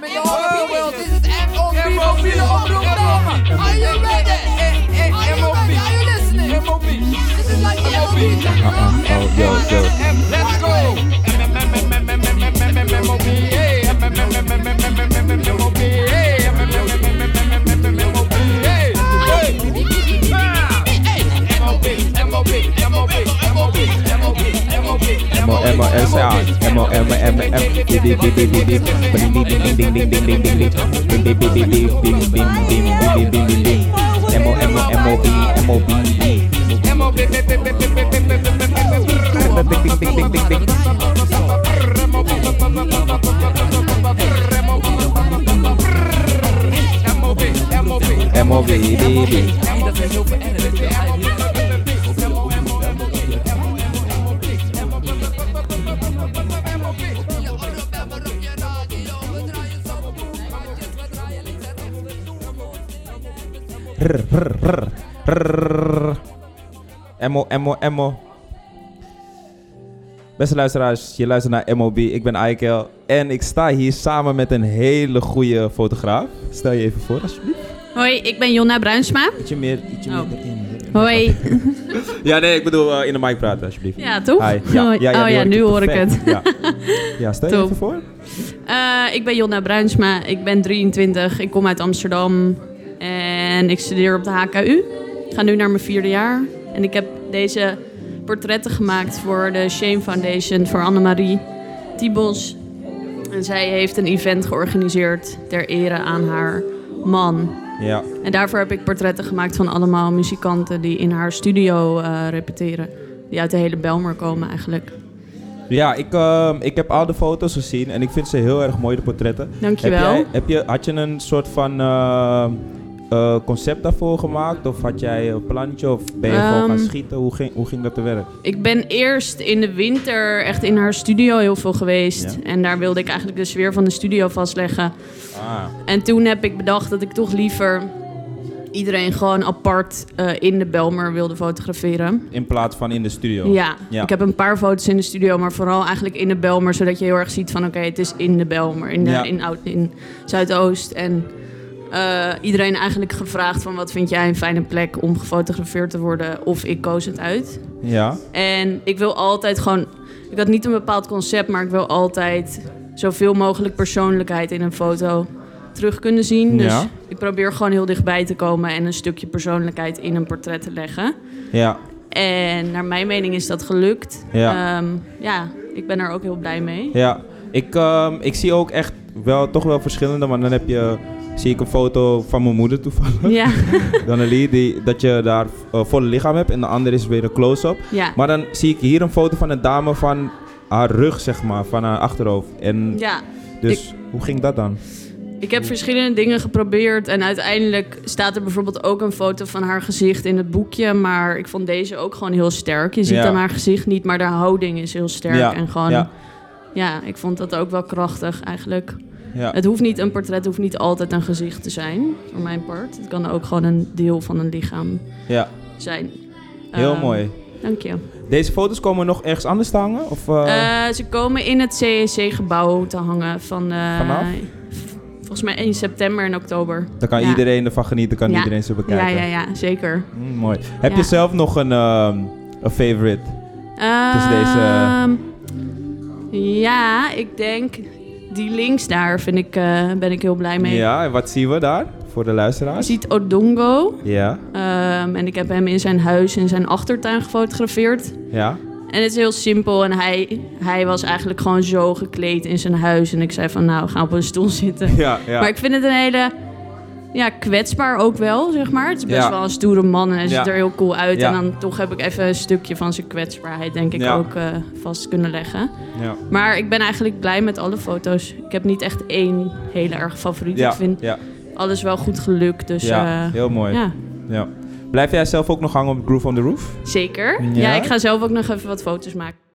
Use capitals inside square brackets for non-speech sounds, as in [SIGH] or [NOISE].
met de Hobby World. Dit is MOB mobiele omroep Belmen. Are you ready? Are you ready? Are you listening? MOB. This is like the MOB. Oh, yo, yo. Let's go. MOB. Hey. MOB. Hey. MOB. Hey. Hey. Ah. MOB. MOB. MOB. MOB. MOB. M O M O S R M O M O M O M D D D D D D Bing ding ding ding ding ding ding ding ding Bing ding ding ding ding ding ding ding ding ding ding ding M O M O M O B M O B MOB. Bing ding ding ding ding ding MOB. MOB. M O B D D Dat zijn zoveel N'en, weet je wel. Rrr, rrr, rrr, rrr. Emmo, Emmo, Emmo. Beste luisteraars, je luistert naar MOB. Ik ben Aikel en ik sta hier samen met een hele goede fotograaf. Stel je even voor, alsjeblieft. Hoi, ik ben Jonna Bruinsma. Ietsje meer, ietsje Oh. meer erin. Hoi. Ja, nee, ik bedoel eh, in de mic praten, alsjeblieft. Ja, toch? Hi. Ja, Hoi. ja, oh ja, nu hoor ik het. perfect. Ja, [LAUGHS] ja stel je Top. even voor. Eh, ik ben Jonna Bruinsma, ik ben 23, ik kom uit Amsterdam en ik studeer op de HKU. Ik ga nu naar mijn vierde jaar en ik heb deze portretten gemaakt voor de Shame Foundation voor Annemarie Tibos. En zij heeft een event georganiseerd ter ere aan haar man. Ja, En daarvoor heb ik portretten gemaakt van allemaal muzikanten die in haar studio eh, repeteren. Die uit de hele Belmer komen eigenlijk. ja ik, ehm, ik heb al de foto's gezien en ik vind ze heel erg mooi, de portretten. Heb Dankjewel. jij, heb je, had je een soort van ehm, eh, concept daarvoor gemaakt? Of had jij een plantje? Of ben je gewoon gaan Ehm. schieten? Hoe ging, hoe ging dat te werk? Ik ben eerst in de winter echt in haar studio heel veel geweest. Ja. En daar wilde ik eigenlijk de sfeer van de studio vastleggen. Ah, En toen heb ik bedacht dat ik toch liever iedereen gewoon apart eh, in de Belmer wilde fotograferen. in plaats van in de studio. Ja. Oh. Ja. ik heb een paar foto's in de studio, maar vooral eigenlijk in de Belmer. Zodat je heel erg ziet van oké, het is in de Belmer, in, de, Ja. in, Oud, in Zuidoost. En eh, iedereen eigenlijk gevraagd van wat vind jij een fijne plek om gefotografeerd te worden? Of ik koos het uit. Ja. En ik wil altijd gewoon. Ik had niet een bepaald concept, maar ik wil altijd zoveel mogelijk persoonlijkheid in een foto terug kunnen zien. Dus Ja. ik probeer gewoon heel dichtbij te komen en een stukje persoonlijkheid in een portret te leggen. ja. En naar mijn mening is dat gelukt. Ja. Ehm, ja ik ben er ook heel blij mee. Ja, ik, ehm, ik zie ook echt wel, toch wel verschillende, maar dan heb je, zie ik een foto van mijn moeder toevallig, Ja, [LAUGHS] Donnelly, die, dat je daar eh, volle lichaam hebt en de andere is weer een close-up. ja. Maar dan zie ik hier een foto van een dame van haar rug, zeg maar, van haar achterhoofd. En ja. dus, hoe ging dat dan? Ik heb verschillende dingen geprobeerd en uiteindelijk staat er bijvoorbeeld ook een foto van haar gezicht in het boekje. Maar ik vond deze ook gewoon heel sterk. Je ziet Ja. dan haar gezicht niet, maar de houding is heel sterk. Ja, En gewoon, ja. ja. ik vond dat ook wel krachtig eigenlijk. Ja, Het hoeft niet, een portret hoeft niet altijd een gezicht te zijn, voor mijn part. Het kan ook gewoon een deel van een lichaam ja zijn. heel Ehm, mooi. Dank je. Deze foto's komen nog ergens anders te hangen? Of, eh, Eh, ze komen in het CEC-gebouw te hangen van... eh, Vanaf? v- Volgens mij 1 september en oktober. dan kan ja. iedereen ervan genieten, kan Ja. iedereen ze Ja, bekijken. ja, ja, zeker. Mm, mooi. Heb Ja. je zelf nog een, ehm, een favorite? is deze- eh, Ehm, Ja, ik denk die links daar vind ik, eh, ben ik heel blij mee. Ja, en wat zien we daar voor de Je luisteraars? ziet Odongo. Ja, ehm, en ik heb hem in zijn huis, in zijn achtertuin gefotografeerd. ja. En het is heel simpel. En hij, hij was eigenlijk gewoon zo gekleed in zijn huis. En ik zei van, nou, ga op een stoel zitten. Ja, ja. Maar ik vind het een hele... Ja, kwetsbaar ook wel, zeg maar. Het is best Ja. wel een stoere man en hij ziet Ja. er heel cool uit. Ja. En dan toch heb ik even een stukje van zijn kwetsbaarheid, denk ik, Ja. ook eh, vast kunnen leggen. ja. Maar ik ben eigenlijk blij met alle foto's. Ik heb niet echt één hele erg favoriet. Ja, Ik vind ja, alles wel goed gelukt. Dus ja, ja, heel mooi. Ja. ja Blijf jij zelf ook nog hangen op Groove on the Roof? zeker. Ja? Ja? ik ga zelf ook nog even wat foto's maken.